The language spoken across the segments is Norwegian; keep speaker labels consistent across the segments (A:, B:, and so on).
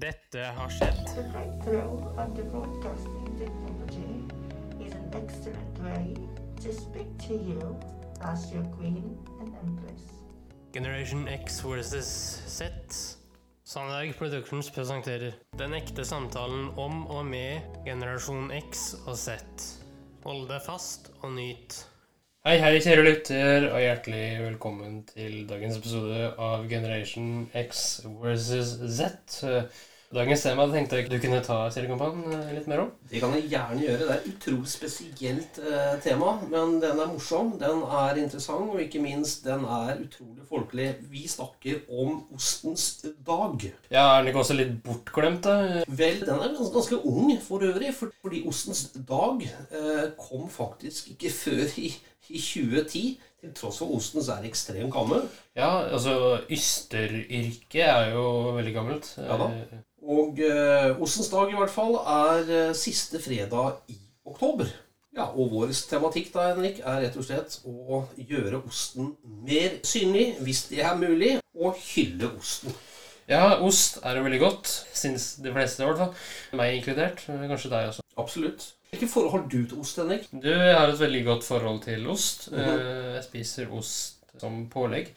A: Dette har skjedd.
B: The right throw of the broadcasting technology is an excellent way to speak to you as your queen and empress.
A: Generation X versus Z. Sandberg Productions presenterer den ekte samtalen om og med generasjon X og Z. Hold deg fast og nyt. Hei, hei, kjære lytter, og hjertelig velkommen til dagens episode av Generation X versus Z. Dagens tema tenkte jeg du kunne ta Siljekompan litt mer om.
C: Det kan jeg gjerne gjøre. Det er et utrolig spesielt eh, tema. Men den er morsom, den er interessant, og ikke minst, den er utrolig folkelig. Vi snakker om ostens dag.
A: Ja, Er den ikke også litt bortglemt, da?
C: Vel, den er gans- ganske ung for øvrig, for- fordi ostens dag eh, kom faktisk ikke før i, i 2010. Til tross for ostens er ekstremt gammel.
A: Ja, altså Ysteryrket er jo veldig gammelt.
C: Ja da. Og eh, Ostens dag i hvert fall er eh, siste fredag i oktober. Ja, Og vår tematikk da, Henrik, er rett og slett å gjøre osten mer synlig, hvis det er mulig, og hylle osten.
A: Ja, ost er jo veldig godt. Syns de fleste, i hvert fall. Meg inkludert. men Kanskje deg også.
C: Absolutt. Hvilke forhold har du til ost, Henrik?
A: Du, jeg har et veldig godt forhold til ost.
C: Mhm.
A: Eh, Jeg spiser ost som pålegg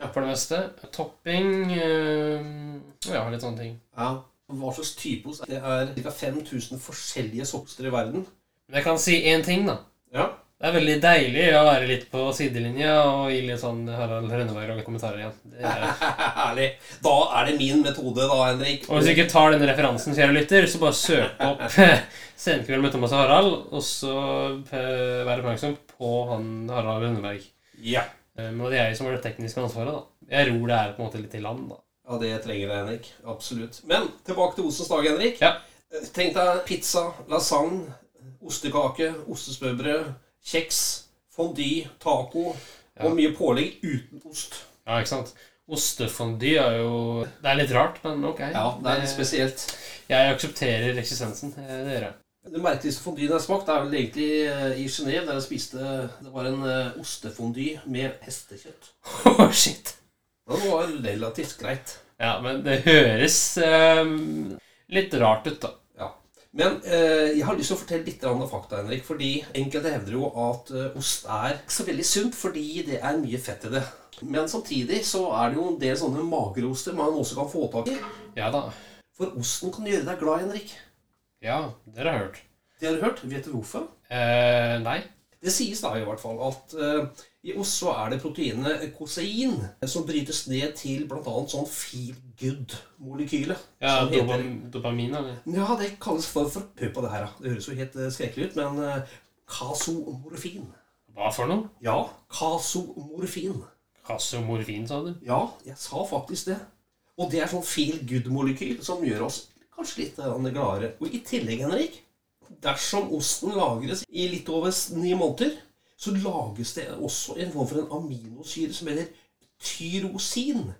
C: Ja.
A: for det meste. Topping eh, Ja, litt sånne ting.
C: Ja, Hva slags type ost? Det er ca. 5000 forskjellige soppster i verden.
A: Men jeg kan si én ting, da.
C: Ja,
A: Det er veldig deilig å være litt på sidelinja og gi litt sånn Harald Rønneberg og kommentarer igjen. Det er.
C: Herlig. Da er det min metode, da, Henrik.
A: Og hvis du ikke tar den referansen, kjære lytter, så bare søk opp Senkveld med Thomas og Harald, og så eh, vær oppmerksom på han Harald Rønneberg.
C: Ja.
A: Eh, Men det er jeg som har det tekniske ansvaret, da. Jeg ror det her på en måte litt i land, da.
C: Ja, det trenger det, Henrik. Absolutt. Men tilbake til ostens dag, Henrik.
A: Ja.
C: Eh, Tenk deg pizza, lasagne, ostekake, ostesmørbrød, kjeks, fondy, taco
A: Ja.
C: og mye pålegg uten ost.
A: Ja, ikke sant? Ostefondy er jo Det er litt rart, men ok.
C: Eh, spesielt.
A: Jeg aksepterer eksistensen. eh, Det gjør jeg.
C: Det merkeligste fondyen jeg har smakt, er vel egentlig eh, i Genéve, der jeg spiste Det var en eh, ostefondy med hestekjøtt.
A: Åh, shit.
C: Det var relativt greit.
A: Ja, men det høres eh, litt rart ut, da.
C: Men eh, jeg har lyst til å fortelle litt grann om fakta, Henrik. Fordi enkelte hevder jo at eh, ost er ikke så veldig sunt, fordi det er mye fett i det. Men samtidig så er det jo en del sånne mageroster man også kan få tak i.
A: Ja da.
C: For osten kan gjøre deg glad, Henrik.
A: Ja, det har jeg hørt.
C: Det har du hørt. Vet du hvorfor?
A: Eh, nei.
C: Det sies da i hvert fall at eh, i ost så er det proteinet kosein som brytes ned til bl.a. sånn feel good-molekylet.
A: Ja,
C: som heter-
A: dopam, dopamin, eller?
C: Ja, det kalles for, for Hør på det her, da. Det høres jo helt eh, skrekkelig ut, men eh, kasomorfin.
A: Hva for noe?
C: Ja, kasomorfin.
A: Kasomorfin, sa du?
C: Ja, jeg sa faktisk det. Og det er sånn feel good-molekyl som gjør oss kanskje litt eh, gladere. Og i tillegg, Henrik, dersom osten lagres i litt over s- ni måneder, så lages det også en form for en aminosyre som heter tyrosin.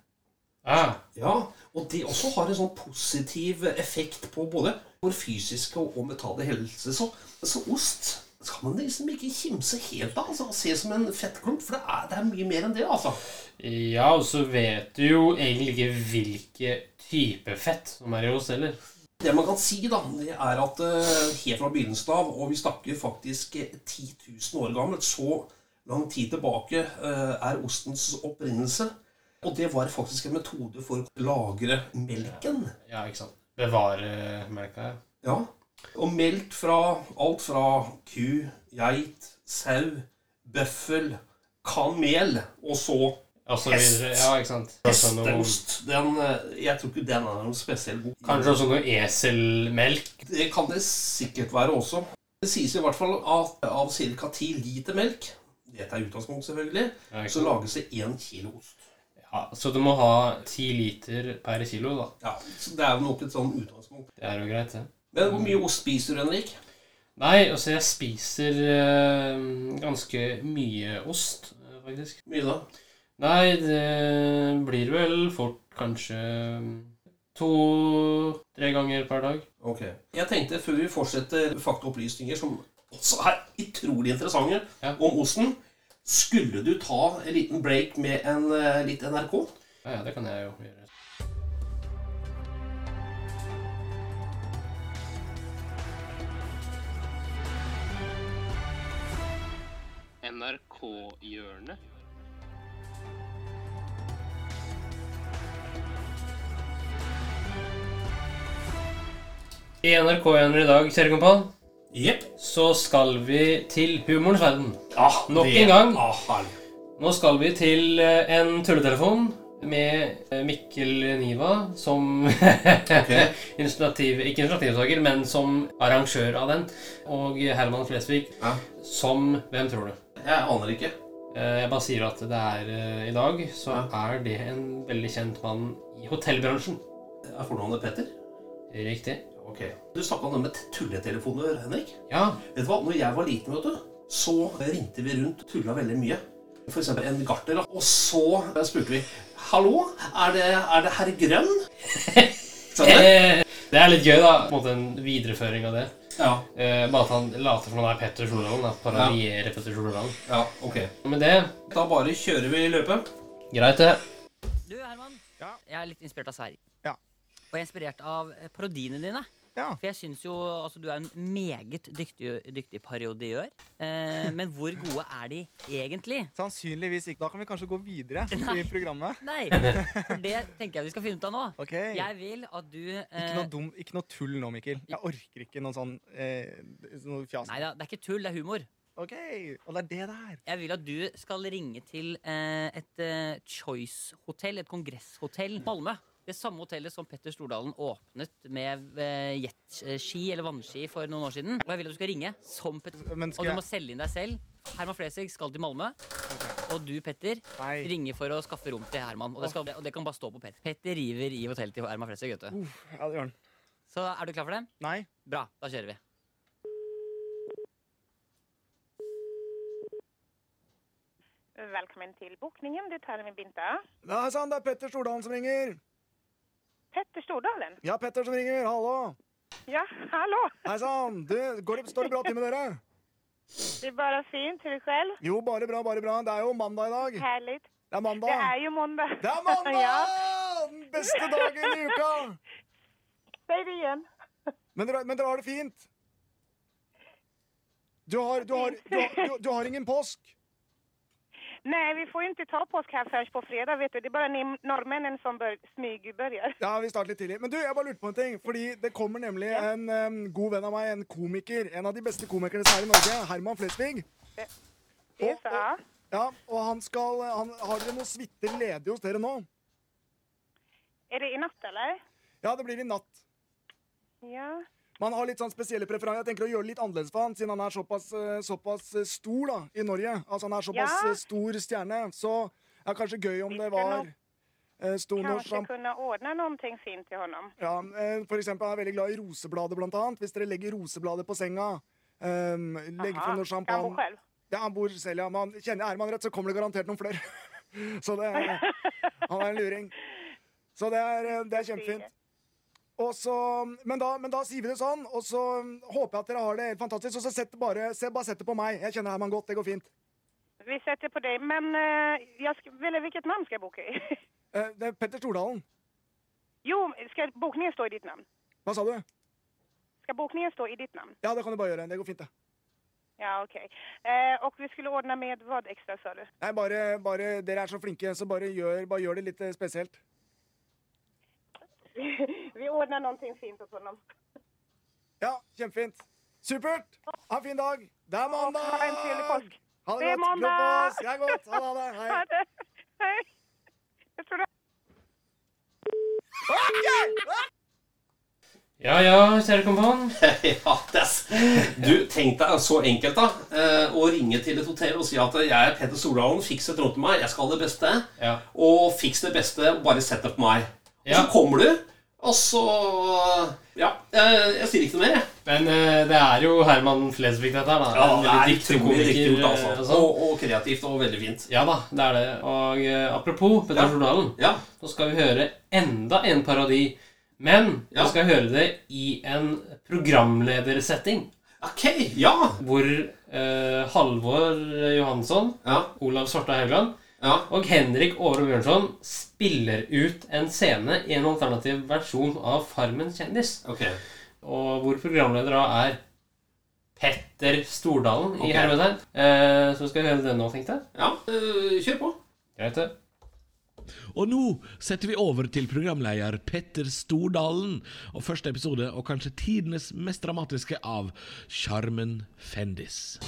A: Ah,
C: Ja, og det også har en sånn positiv effekt på både vår fysiske og og mentale helse. Så, så ost skal man liksom ikke kimse helt av altså, og se som en fettklump, for det er, det er mye mer enn det. altså.
A: ja, og så vet du jo egentlig ikke hvilke type fett som er i oss, heller.
C: Det man kan si, da, det er at eh, helt fra begynnelsen av, og vi snakker faktisk eh, 10 000 år gammelt, så lang tid tilbake eh, er ostens opprinnelse. Og det var faktisk en metode for å lagre melken.
A: Ja, ikke sant. Bevare melka, ja.
C: Ja. Og melk fra alt fra ku, geit, sau, bøffel, kamel og så
A: Og så
C: Hest.
A: videre. Ja, ikke sant. Kanskje noe,
C: hesteost. Den, eh, jeg tror ikke den er noe spesielt god.
A: kanskje også noe eselmelk.
C: Det kan det sikkert være også. Det sies i hvert fall at av ca. 10 liter melk dette er utgangspunkt selvfølgelig,
A: Ja, ikke
C: så
A: sant?
C: lages det 1 kilo ost.
A: Ja, så du må ha ti liter per kilo, da.
C: Ja, så Det er jo nok et sånn utgangspunkt.
A: Det er jo greit, det.
C: Men hvor mye ost spiser du, Henrik?
A: Nei, altså, jeg spiser eh, ganske mye ost, eh, faktisk.
C: Mye da?
A: Nei, det blir vel fort kanskje to-tre ganger per dag.
C: Ok. Jeg tenkte før vi fortsetter faktaopplysninger som også er utrolig interessante
A: Ja.
C: om osten, skulle du ta en liten break med en eh, litt NRK?
A: Ja, ja, det kan jeg jo gjøre.
D: NRK-hjørnet.
A: I NRK igjen i dag, kjære kompan,
C: Jepp.
A: så skal vi til humorens verden.
C: Ah,
A: Nok
C: det-
A: en gang.
C: Ah, herlig.
A: Nå skal vi til eh, en tulletelefon med eh, Mikkel Niva som initiativ, Ikke initiativtaker, men som arrangør av den. Og Herman Flesvig
C: Ja.
A: som Hvem tror du?
C: Jeg aner ikke.
A: Eh, Jeg bare sier at det er eh, i dag, så
C: Ja.
A: er det en veldig kjent mann i hotellbransjen.
C: Er fornavnet Petter?
A: Riktig.
C: Ok. Du snakka om det med tulletelefoner, Henrik.
A: Ja.
C: Vet du hva, når jeg var liten, vet du, så ringte vi rundt og tulla veldig mye. For eksempel en gartner. da. Og så spurte vi Hallo, er det, er det herr Grønn? Skjønner du?
A: Eh, Det er litt gøy, da. På en måte en videreføring av det.
C: Ja,
A: Eh, Bare at han later som han er Petter Stordalen. da, Parodierer Petter Stordalen.
C: ja, ok.
A: Og Med det
C: Da bare kjører vi løpet.
A: Greit, det.
E: Du, Herman.
F: Ja.
E: Jeg er litt inspirert av Sverige.
F: Ja.
E: Og jeg er inspirert av eh, parodiene dine.
F: Ja.
E: For jeg syns jo altså, du er en meget dyktig, dyktig parodiør. Eh, men hvor gode er de egentlig?
F: Sannsynligvis ikke. Da kan vi kanskje gå videre
E: Nei.
F: i programmet.
E: Nei, for det tenker jeg vi skal finne ut av nå.
F: Ok.
E: Jeg vil at du
F: Ikke
E: eh,
F: noe, dum, ikke noe tull nå, Mikkel. Jeg orker ikke noe sånn eh, noe fjas.
E: Nei da, det er ikke tull, det er humor.
F: Ok, Og det er det der.
E: Jeg vil at du skal ringe til eh, et eh, choice-hotell, et kongresshotell i Malmö. Det samme hotellet som Petter Stordalen åpnet med eh, jetski eller vannski for noen år siden. Og jeg vil at du skal ringe som Petter
F: Men
E: Og
F: skal
E: du må
F: jeg
E: selge inn deg selv. Herman Flesvig skal til Malmö. Og du, Petter,
F: Nei.
E: ringer for å skaffe rom til Herman. Og det, skal, og det kan bare stå på Petter. Petter river i hotellet til Herman Flesvig. vet du.
F: Uff, ja, det gjør den.
E: Så er du klar for det?
F: Nei.
E: Bra. Da kjører vi.
G: Velkommen til bokningen. Du taler med Binta.
F: Nei sann, det er Petter Stordalen som ringer.
G: Petter Stordalen.
F: Ja, Petter som ringer. Hallo.
G: Ja, hallå!
F: Hei sann. Du, går det, står det bra til med dere?
G: Det är bara fint. Hur är det själv?
F: Jo, bare bra, bare bra. Det er jo mandag i dag.
G: Härligt.
F: Det er
G: Det är
F: mandag.
G: ju måndag.
F: Det er mandag!
G: ja.
F: Den beste dagen i uka.
G: Säg det igen.
F: Men dere, men dere har det fint? Du har, du, har, du, har, du, du har ingen påsk?
G: Nej, vi får ju inte ta påsk här förrän på fredag, vet du. Det är bara ni norrmännen som bör, smygbörjar.
F: Ja, vi starter litt tidlig. Men du, jeg bare lurte på en ting. Fordi det kommer nemlig en em, god venn av meg, en komiker. En av de beste komikerne som er i Norge. Herman Flesvig.
G: Det är så, ja.
F: Ja, og han skal han, Har dere noen suiter ledig hos dere nå?
G: Är det i natt, eller?
F: Ja, det blir i natt.
G: Ja.
F: Man har litt sånn spesielle preferanser. Jeg tenker å gjøre det litt annerledes for han, siden han er såpass, eh, såpass eh, stor da, i Norge. Altså, han er såpass
G: Ja.
F: eh, stor stjerne. Så det er kanskje gøy om
G: Vi
F: det
G: skal
F: var
G: nok-
F: eh, stor norsk
G: Kanske
F: sjamp-
G: kunna ordna någonting fint till honom.
F: Ja, eh, for eksempel han er veldig glad i rosebladet, blant annet. Hvis dere legger rosebladet på senga, um, legger
G: Jaha,
F: frem noe
G: kan han bo
F: champagne
G: själv?
F: Ja, han bor selv, ja. Men han- kjenner jeg Herman rett, så kommer det garantert noen flere. så det er, Han er en luring. Så det er, eh, det er kjempefint. Og så, men, da, men da sier vi det sånn, og så mm, håper jeg at dere har det helt fantastisk. Og så sett det bare, se, bare sett det på meg. Jeg kjenner Herman godt, det går fint.
G: Vi sätter på dig, men eh, jag sk- eller vilket namn ska jag boka i?
F: Eh, det er Petter Stordalen.
G: jo, ska bokningen stå i ditt namn?
F: Hva sa du?
G: Ska bokningen stå i ditt namn?
F: Ja, det kan du bare gjøre. Det går fint, det.
G: Ja, okej. Eh, och vi skulle ordna med vad extra, sa du?
F: Nei, bare, bare, dere er så flinke, så bare gjør, bare gjør det litt eh, spesielt.
G: vi ordnar någonting fint åt honom.
F: Ja, kjempefint. Supert! Ha en fin dag. Det er mandag!
G: Ha en trevlig påsk.
F: Ha det,
G: Det er
F: godt. Glem på
G: mandag!
F: oss. Det er godt. Ha det. Ha det. Hei.
G: Hej! Jag tror det
A: Ja ja, kjære kompan.
C: ja, det er s- du, tenk deg så enkelt, da. eh, Å ringe til et hotell og si at jeg er Petter Stordalen, fiks et rom til meg, jeg skal ha det beste.
A: Ja.
C: Og fiks det beste, og bare sett det på meg. Og
A: Ja.
C: så kommer du, og så Ja, jeg, jeg sier ikke noe mer, jeg.
A: Men eh, det er jo Herman Flesvig, dette her. da.
C: Ja,
A: En
C: det er
A: veldig dyktig
C: utrolig riktig gjort,
A: komiker, eh, og
C: altså.
A: sånn.
C: Og, og kreativt og veldig fint.
A: Ja da, det er det. Og eh, apropos Petter
C: Ja.
A: Stordalen,
C: Ja,
A: nå skal vi høre enda en parodi. Men
C: Ja.
A: vi skal høre det i en programledersetting.
C: ok, ja.
A: Hvor eh, Halvor Johansson,
C: Ja,
A: Olav Svartdal Haugland
C: ja.
A: og Henrik Åre Bjørnson spiller ut en scene i en alternativ versjon av Farmen kjendis.
C: Ok.
A: Og hvor programleder da er Petter Stordalen
C: Ok.
A: i hermetegn. Eh, så skal jeg gjøre det nå, tenkte jeg.
C: Ja, øh, kjør på.
A: Greit, det.
D: Og nå setter vi over til programleder Petter Stordalen og første episode, og kanskje tidenes mest dramatiske, av Sjarmen Fendis.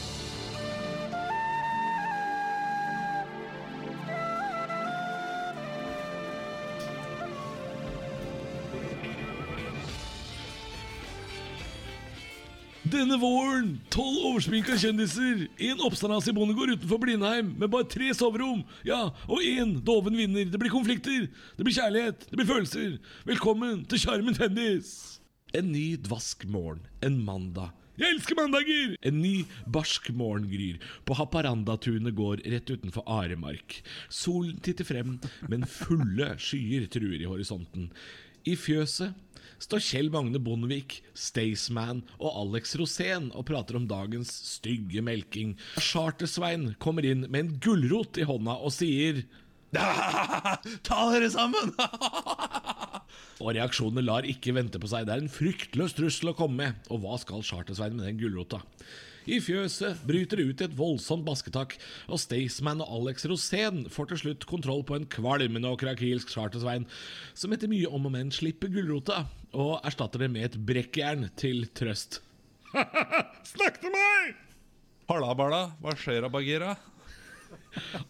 D: Denne våren, tolv oversminka kjendiser, én oppstandas i bondegård utenfor Blindheim, med bare tre soverom, ja, og én doven vinner. Det blir konflikter, det blir kjærlighet, det blir følelser. Velkommen til Sjarmen Tennis! En ny dvask morgen, en mandag. Jeg elsker mandager! En ny barsk morgen gryr. På Haparandatunet går rett utenfor Aremark. Solen titter frem, men fulle skyer truer i horisonten. I fjøset står Kjell Magne Bondevik, Staysman og Alex Rosén og prater om dagens stygge melking. Charter-Svein kommer inn med en gulrot i hånda og sier Ta dere sammen! og reaksjonene lar ikke vente på seg. Det er en fryktløs trussel å komme med. Og hva skal Charter-Svein med den gulrota? I fjøset bryter det ut i et voldsomt basketak, og Staysman og Alex Rosén får til slutt kontroll på en kvalmende og krakilsk Charter-Svein, som etter mye om og men slipper gulrota, og erstatter det med et brekkjern til trøst. Snakk til meg!
H: Halla, balla. Hva skjer, Bagira?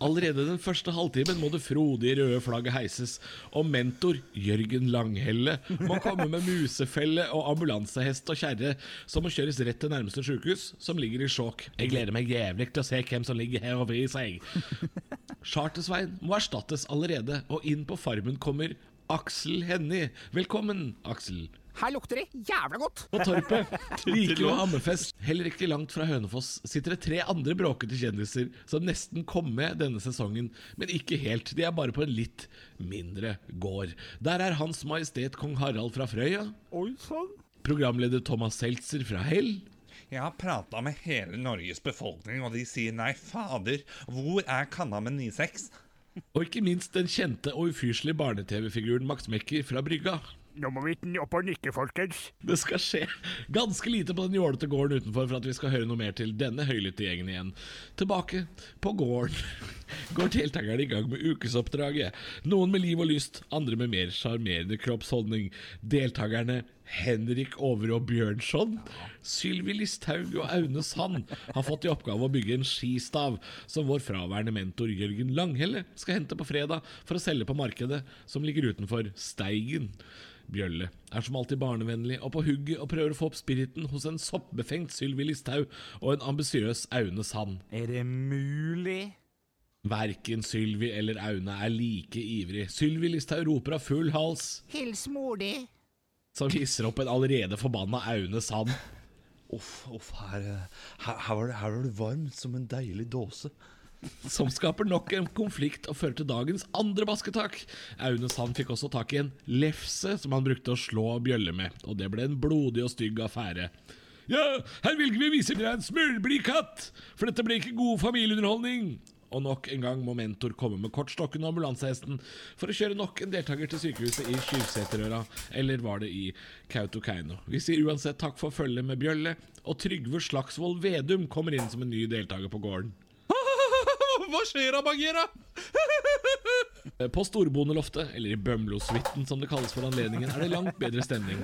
D: Allerede den første halvtimen må det frodige røde flagget heises, og mentor Jørgen Langhelle må komme med musefelle og ambulansehest og kjerre, som må kjøres rett til nærmeste sykehus, som ligger i sjokk. Jeg gleder meg jævlig til å se hvem som ligger her og vrir seg. Charter-Svein må erstattes allerede, og inn på farmen kommer Aksel Hennie. Velkommen, Aksel.
I: Her lukter det jævla godt!
D: På Torpet, Triklo og Hammerfest, heller ikke langt fra Hønefoss, sitter det tre andre bråkete kjendiser som nesten kom med denne sesongen, men ikke helt. De er bare på en litt mindre gård. Der er Hans Majestet Kong Harald fra Frøya,
I: Oi sånn. sann!
D: programleder Thomas Seltzer fra Hell,
H: Jeg har prata med hele Norges befolkning, og de sier nei, fader, hvor er kanna med 96?
D: og ikke minst den kjente og ufyselige barne-TV-figuren Max Mekker fra Brygga.
I: Nå må vi opp og nikke, folkens.
D: Det skal skje ganske lite på den jålete gården utenfor for at vi skal høre noe mer til denne høylytte gjengen igjen. Tilbake på gården går deltakerne i gang med ukesoppdraget. Noen med liv og lyst, andre med mer sjarmerende kroppsholdning. Deltakerne Henrik Overå Bjørnson, Sylvi Listhaug og Aune Sand har fått i oppgave å bygge en skistav som vår fraværende mentor Jørgen Langhelle skal hente på fredag for å selge på markedet som ligger utenfor Steigen. Bjølle er som alltid barnevennlig og på hugget og prøver å få opp spiriten hos en soppbefengt Sylvi Listhaug og en ambisiøs Aune Sand.
I: Er det mulig?
D: Verken Sylvi eller Aune er like ivrig. Sylvi Listhaug roper av full hals,
I: Hils mor di.
D: som hisser opp en allerede forbanna Aune Sand.
H: Uff, uff, her, eh, her, her, var det, her var det varmt som en deilig dåse.
D: som skaper nok en konflikt og fører til dagens andre basketak. Aune Sand fikk også tak i en lefse som han brukte å slå bjølle med, og det ble en blodig og stygg affære. Ja, her vil vi vise dere en smørblid katt, for dette ble ikke god familieunderholdning. Og nok en gang må mentor komme med kortstokken og ambulansehesten for å kjøre nok en deltaker til sykehuset i Kyrksæterøra, eller var det i Kautokeino. Vi sier uansett takk for følget med Bjølle, og Trygve Slagsvold Vedum kommer inn som en ny deltaker på gården.
H: Hva skjer, Bagira?
D: På Storbondeloftet, eller i Bømlosuiten som det kalles for anledningen, er det langt bedre stemning.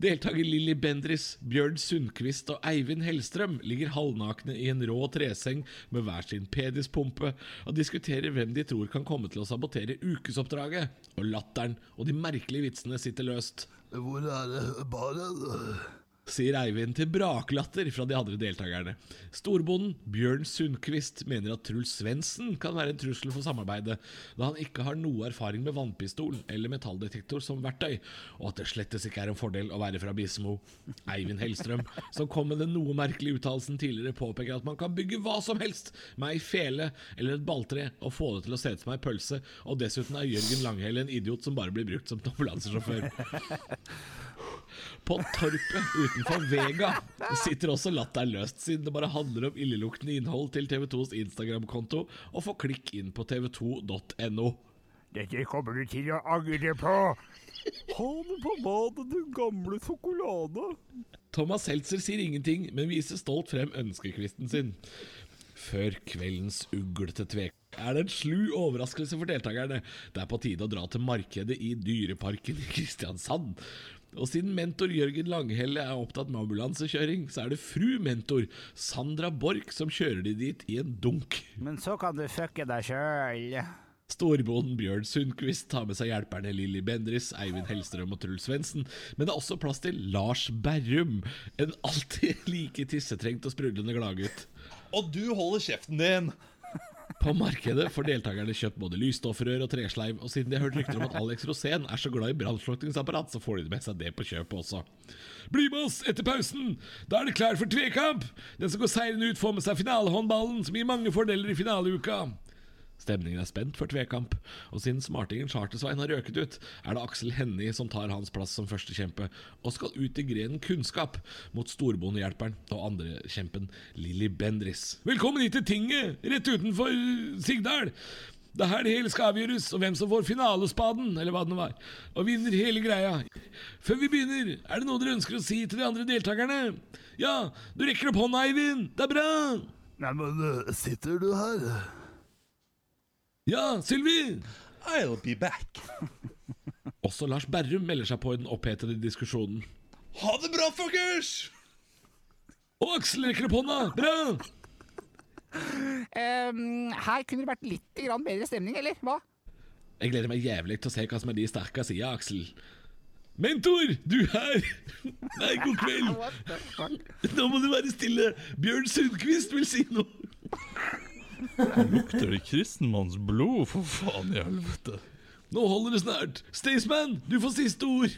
D: Deltaker Lilly Bendris, Bjørn Sundquist og Eivind Hellstrøm ligger halvnakne i en rå treseng med hver sin penispumpe og diskuterer hvem de tror kan komme til å sabotere ukesoppdraget. Og latteren og de merkelige vitsene sitter løst.
J: Hvor er det baren?
D: sier Eivind til braklatter fra de andre deltakerne. Storbonden Bjørn Sundquist mener at Truls Svendsen kan være en trussel for samarbeidet, da han ikke har noe erfaring med vannpistol eller metalldetektor som verktøy, og at det slettes ikke er en fordel å være fra Bismo. Eivind Hellstrøm, som kom med den noe merkelige uttalelsen tidligere, påpeker at man kan bygge hva som helst med ei fele eller et balltre og få det til å se ut som ei pølse, og dessuten er Jørgen Langhelle en idiot som bare blir brukt som ambulansesjåfør. På torpet utenfor Vega sitter også latteren løst, siden det bare handler om illeluktende innhold til TV2s Instagram-konto, og få klikk inn på tv2.no.
I: Dette kommer du til å angre på. Ha det på badet, du gamle sjokolade.
D: Thomas Seltzer sier ingenting, men viser stolt frem ønskekvisten sin. Før kveldens uglete tvek er det en slu overraskelse for deltakerne. Det er på tide å dra til markedet i Dyreparken i Kristiansand. Og siden mentor Jørgen Langhelle er opptatt med ambulansekjøring, så er det fru mentor Sandra Borch som kjører de dit i en dunk.
I: Men så kan du fucke deg sjøl.
D: Storbonden Bjørn Sundquist tar med seg hjelperne Lilly Bendris, Eivind Hellstrøm og Truls Svendsen, men det er også plass til Lars Berrum, en alltid like tissetrengt og sprudlende gladgutt.
H: Og du holder kjeften din!
D: På markedet får deltakerne kjøpt både lysstoffrør og tresleiv, og siden de har hørt rykter om at Alex Rosén er så glad i brannslukningsapparat, så får de med seg det på kjøpet også. Bli med oss etter pausen! Da er det klar for tvekamp! Den som går seirende ut, får med seg finalehåndballen, som gir mange fordeler i finaleuka. Stemningen er spent for tvekamp, og siden smartingen Chartersvein har røket ut, er det Aksel Hennie som tar hans plass som førstekjempe, og skal ut i grenen kunnskap mot storbondehjelperen og andrekjempen Lilly Bendris. Velkommen hit til tinget, rett utenfor Sigdal! Det er her det hele skal avgjøres, og hvem som får finalespaden, eller hva det nå var, og vinner hele greia. Før vi begynner, er det noe dere ønsker å si til de andre deltakerne? Ja, du rekker opp hånda, Eivind! Det er bra!
J: Nei, men eh, sitter du her?
D: Ja, Sylvi!
H: I'll be back.
D: Også Lars Berrum melder seg på i den opphetede diskusjonen.
H: Ha det bra, fuckers!
D: Og Aksel rekker opp hånda! Bra!
I: Ehm, her kunne det vært litt grann bedre stemning, eller hva?
D: Jeg gleder meg jævlig til å se hva som er de sterke sida, Aksel. Mentor, du her! Nei, god kveld! Nå må du være stille! Bjørn Sundquist vil si noe!
K: Lukter det kristenmanns blod, for faen i helvete?
D: Nå holder det snart. Staysman, du får siste ord!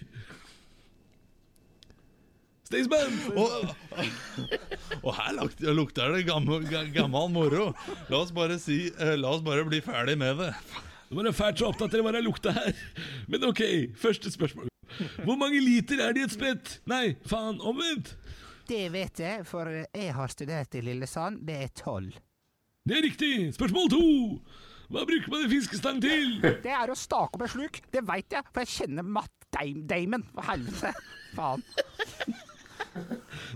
D: Staysman!
K: Og, og her lukter, lukter det gammel, ga- gammel moro. La oss bare si eh, La oss bare bli ferdig med det.
D: Det var da fælt så opptatt dere var av lukta her. Men ok, første spørsmål. Hvor mange liter er det i et spett? Nei, faen, omvendt!
I: Det vet jeg, for jeg har studert i Lillesand. Det er tolv.
D: Det er riktig! Spørsmål to! Hva bruker man en fiskestang til?
I: Det er å stake opp en sluk. Det veit jeg, for jeg kjenner Matt Dam Damon. For helvete. Faen.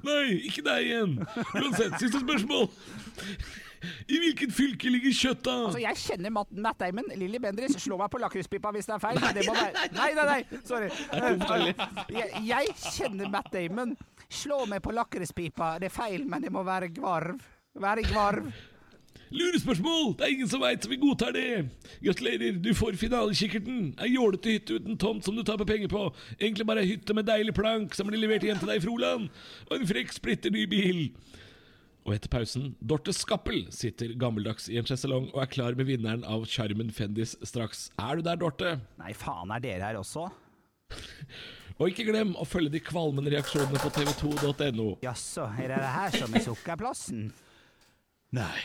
D: Nei, ikke deg igjen. Uansett, siste spørsmål. I hvilket fylke ligger Kjøtta?
I: Altså, jeg kjenner Matt, Matt Damon. Lilly Bendriss, slå meg på lakrispipa hvis det er feil. men det må være... nei, nei, nei, sorry. Jeg, jeg kjenner Matt Damon. Slå meg på lakrispipa. Det er feil, men det må være gvarv. Være gvarv.
D: Lurespørsmål! Det er ingen som veit, så vi godtar det. Gratulerer, du får finalekikkerten. Ei jålete hytte uten tomt som du taper penger på. Egentlig bare ei hytte med deilig plank som blir levert hjem til deg i Froland. Og en frekk, splitter ny bil. Og etter pausen, Dorte Skappel sitter gammeldags i en sjeselong og er klar med vinneren av Charmen Fendis straks. Er du der, Dorte?
I: Nei, faen, er dere her også?
D: Og ikke glem å følge de kvalmende reaksjonene på tv2.no.
I: Jaså, er det det her som er sukkerplassen?
K: Nei.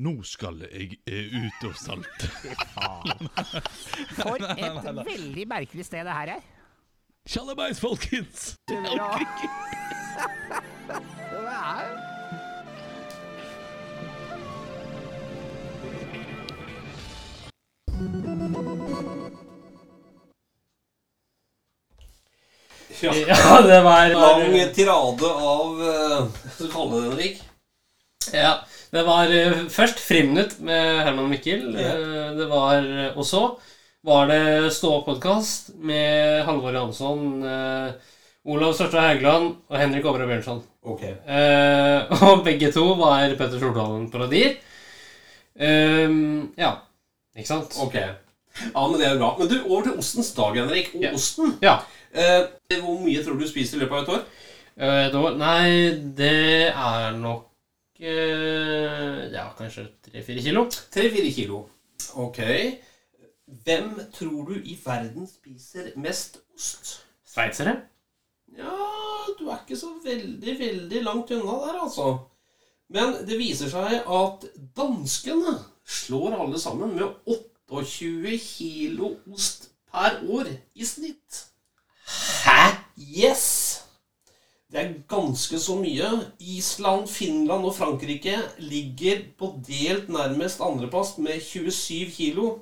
K: Nå skal jeg eh, ut og salte.
I: For et veldig merkelig sted det her er.
D: Tjallabais, folkens!
I: Det orker ikke. Det er
C: Ja,
A: Ja, det var
C: lang tirade av eh, Hva skal vi kalle det, Henrik?
A: Ja, det var eh, først friminutt med Herman og Mikkel. Eh, Det var eh, Og så var det Stå-podkast med Halvor Jansson, eh, Olav Størstad Haugland og Henrik Overø Bjørnson.
C: Ok.
A: Eh, og begge to var Petter Stordalen-parodier. Eh, ja. Ikke sant?
C: ok. Ja, men det er bra. Men du, over til ostens dag, Henrik. Og
A: Ja.
C: osten
A: Ja.
C: eh, Hvor mye tror du du spiser i løpet av et år?
A: Eh, det var, nei, det er nok eh, Ja, kanskje tre-fire kilo.
C: 3-4 kilo. Ok. Hvem tror du i verden spiser mest ost?
A: Sveitsere.
C: Ja, du er ikke så veldig, veldig langt unna der, altså. Men det viser seg at danskene slår alle sammen med 28 kilo ost per år i snitt. Hæ? Yes! Det er ganske så mye. Island, Finland og Frankrike ligger på delt nærmest andreplass med 27 kilo.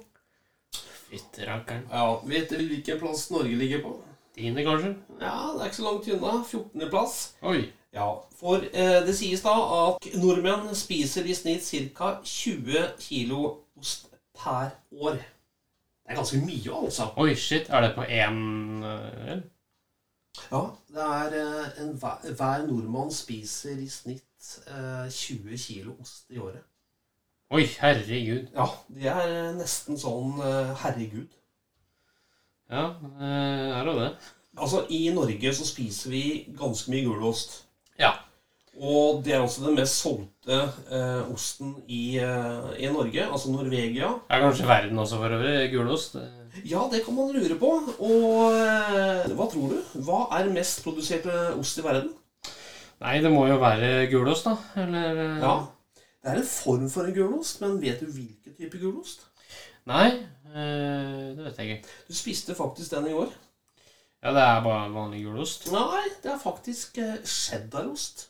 A: Fytterakkeren.
C: Ja, Vet dere hvilken plass Norge ligger på? Tiende, kanskje? Ja, det er ikke så langt unna. 14. plass.
A: Oi.
C: Ja, For eh, det sies da at nordmenn spiser i snitt ca. 20 kilo ost per år. Det er ganske mye, altså.
A: Oi, shit. Er det på én eh, øl?
C: Ja, det er eh, en, hver, hver nordmann spiser i snitt eh, 20 kilo ost i året.
A: Oi, herregud.
C: Ja, det er eh, nesten sånn eh, herregud.
A: Ja, eh, er det det?
C: Altså, I Norge så spiser vi ganske mye gulost.
A: Ja.
C: Og det er også den mest solgte eh, osten i, eh, i Norge, altså Norvegia.
A: Det er kanskje verden også, for øvrig. Gulost.
C: Ja, det kan man lure på. Og eh, hva tror du? Hva er mest produserte ost i verden?
A: Nei, det må jo være gulost, da. Eller eh,
C: Ja, Det er en form for en gulost, men vet du hvilken type gulost?
A: Nei, eh, det vet jeg ikke.
C: Du spiste faktisk den i går.
A: Ja, det er bare vanlig gulost.
C: Nei, det er faktisk eh, cheddarost.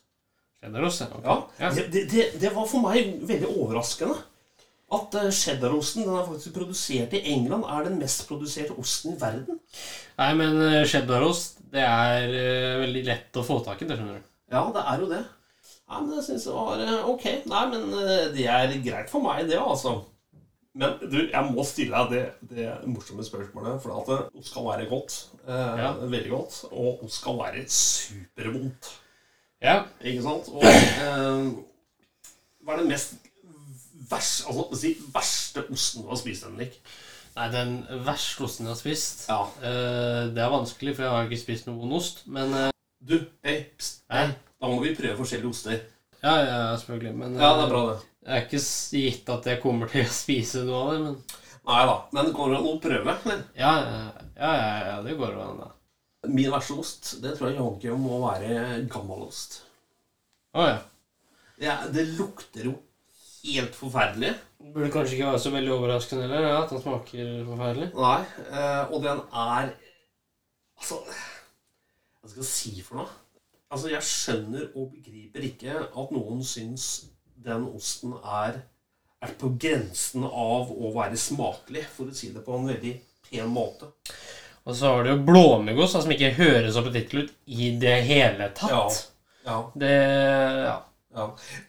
A: Cheddarost, ja.
C: Ja,
A: ok.
C: det, det, det, det var for meg veldig overraskende. At eh, cheddarosten den er faktisk produsert i England, er den mest produserte osten i verden.
A: Nei, men eh, cheddarost, det er eh, veldig lett å få tak i, det skjønner du.
C: Ja, det er jo det. Nei, men jeg synes det var eh, ok. Nei, men eh, det er greit for meg, det, altså. Men du, jeg må stille deg det, det morsomme spørsmålet. For at eh, ost kan være godt. Eh,
A: Ja.
C: Veldig godt. Og ost kan være supervondt.
A: Ja.
C: Ikke sant? Og eh, hva er den mest vers, altså, si, verste osten du har spist, Henrik?
A: Nei, den verste osten jeg har spist
C: Ja.
A: eh, Det er vanskelig, for jeg har ikke spist noen vond ost. Men eh,
C: Du, hei, pst,
A: Hei.
C: hei. Da må vi prøve forskjellige oster.
A: Ja, ja, selvfølgelig. Men
C: Ja,
A: eh,
C: det er bra, det.
A: Det er ikke s- gitt at jeg kommer til å spise noe av det, men
C: Nei da. Men det går an å prøve.
A: ja, ja, ja, ja, ja det går jo an, da.
C: Min verste ost, det tror jeg Janke må være gammalost.
A: Å ja.
C: Det, er- det lukter jo helt forferdelig.
A: Burde kanskje ikke være så veldig overraskende heller, ja, at den smaker forferdelig.
C: Nei. eh, Og den er Altså Hva skal jeg si for noe? Altså, jeg skjønner og begriper ikke at noen syns den osten er, er på grensen av å være smakelig, for å si det på en veldig pen måte.
A: Og så har du jo blåmuggost, da, som ikke høres appetittlig ut i det hele tatt.
C: Ja.
A: Det Ja.
C: Ja.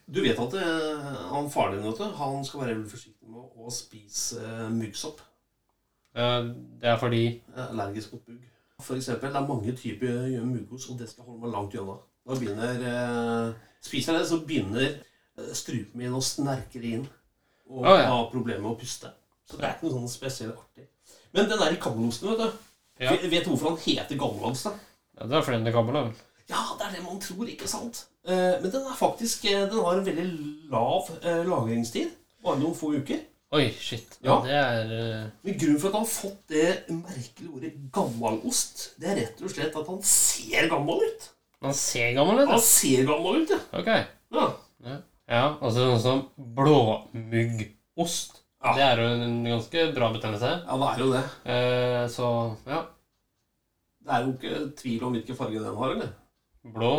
C: Du vet at eh, han faren din vet du, han skal være veldig forsiktig med å spise eh, muggsopp.
A: Eh, Det er fordi
C: Eh, Allergisk mot mugg. For eksempel, det er mange typer muggost, og det skal holde meg langt unna. Da begynner eh, Spiser jeg det, så begynner eh, strupen min å snerke inn. Og
A: Å, ja.
C: ha problemer med å puste. Så det er ikke noe sånn spesielt artig. Men den der gammelosten, vet du.
A: Ja.
C: Vet- Vet du hvorfor han heter gammelost? da?
A: ja, Det er fordi den kommer, da.
C: Ja, det er det man tror, ikke sant? Eh, Men den er faktisk eh, Den har en veldig lav eh, lagringstid. Bare noen få uker.
A: Oi, shit.
C: Ja.
A: Det er eh,
C: Men grunnen for at han har fått det merkelige ordet gammalost, det er rett og slett at han ser gammel ut.
A: Man ser gammel ut,
C: Han ser gammel ut, ja.
A: da. Ok.
C: ja.
A: Ja, altså sånn som blåmuggost.
C: Ja.
A: Det er jo en ganske bra betegnelse.
C: Ja, det er jo det.
A: Eh, så ja.
C: Det er jo ikke tvil om hvilken farge den har, eller?
A: Blå.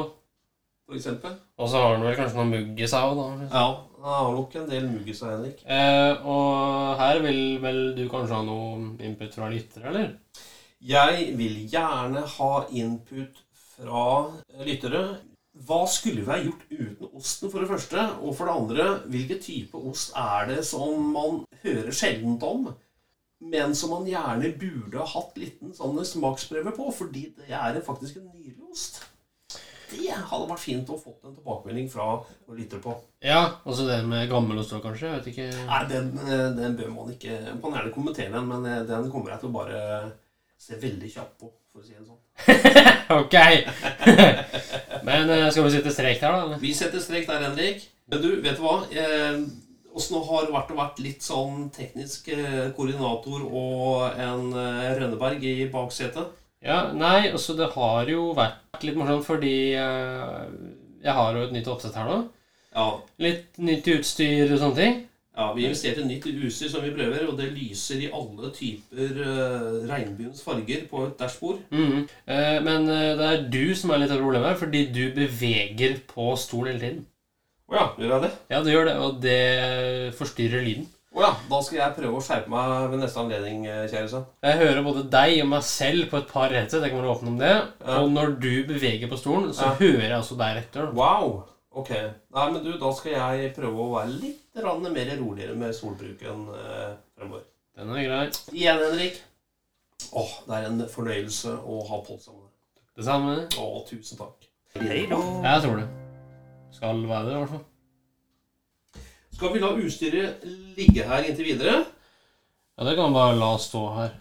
C: For eksempel.
A: Og så har den vel kanskje noe mugg i seg òg, da.
C: Ja, han har nok en del mugg i seg, Henrik.
A: Eh, og her vil vel du kanskje ha noe input fra lyttere, eller?
C: Jeg vil gjerne ha input fra lyttere. Hva skulle vi ha gjort uten osten, for det første? Og for det andre, hvilken type ost er det som man hører sjeldent om, men som man gjerne burde ha hatt liten sånn smaksprøve på, fordi det er faktisk en nydelig ost? Det hadde vært fint å få en tilbakemelding fra våre lyttere på.
A: Ja, også det med gammelost òg, kanskje? Jeg vet ikke.
C: Nei, den, eh, den bør man ikke Man kan gjerne kommentere den, men eh, den kommer jeg til å bare se veldig kjapt på, for å si det sånn.
A: Ok! Men eh, skal vi sitte strek der, da? eller?
C: Vi setter strek der, Henrik. Men du, vet du hva? Eh, Åssen har det vært å vært litt sånn teknisk eh, koordinator og en eh, Rønneberg i baksetet?
A: Ja, nei, altså det har jo vært litt morsomt, fordi eh, jeg har jo et nytt oppsett her nå.
C: Ja.
A: Litt nytt utstyr og sånne ting.
C: ja vi investerte nytt utstyr som vi prøver, og det lyser i alle typer eh, regnbuens farger på et dashbord.
A: Mhm. Eh, men eh, det er du som er litt av problemet her, fordi du beveger på stolen hele tiden.
C: Å ja, gjør jeg det?
A: Ja, du gjør det, og det forstyrrer lyden.
C: Å Å ja, da skal jeg prøve å skjerpe meg ved neste anledning, eh, kjære sønn.
A: Jeg hører både deg og meg selv på et par headset. Jeg kommer til å åpne om det. Og når du beveger på stolen, så
C: Ja.
A: hører jeg også deg rett dør.
C: Wow. Ok. Nei, men du, da skal jeg prøve å være litt rann mer roligere med solbruken eh, fremover.
A: Den er grei.
C: Igjen, Henrik. Åh, det er en fornøyelse å ha podd sammen med deg.
A: Det samme.
C: Å, tusen takk.
A: Jeg tror det. Skal være det, i hvert fall.
C: Skal vi la utstyret ligge her inntil videre?
A: Ja, det kan man bare la stå her.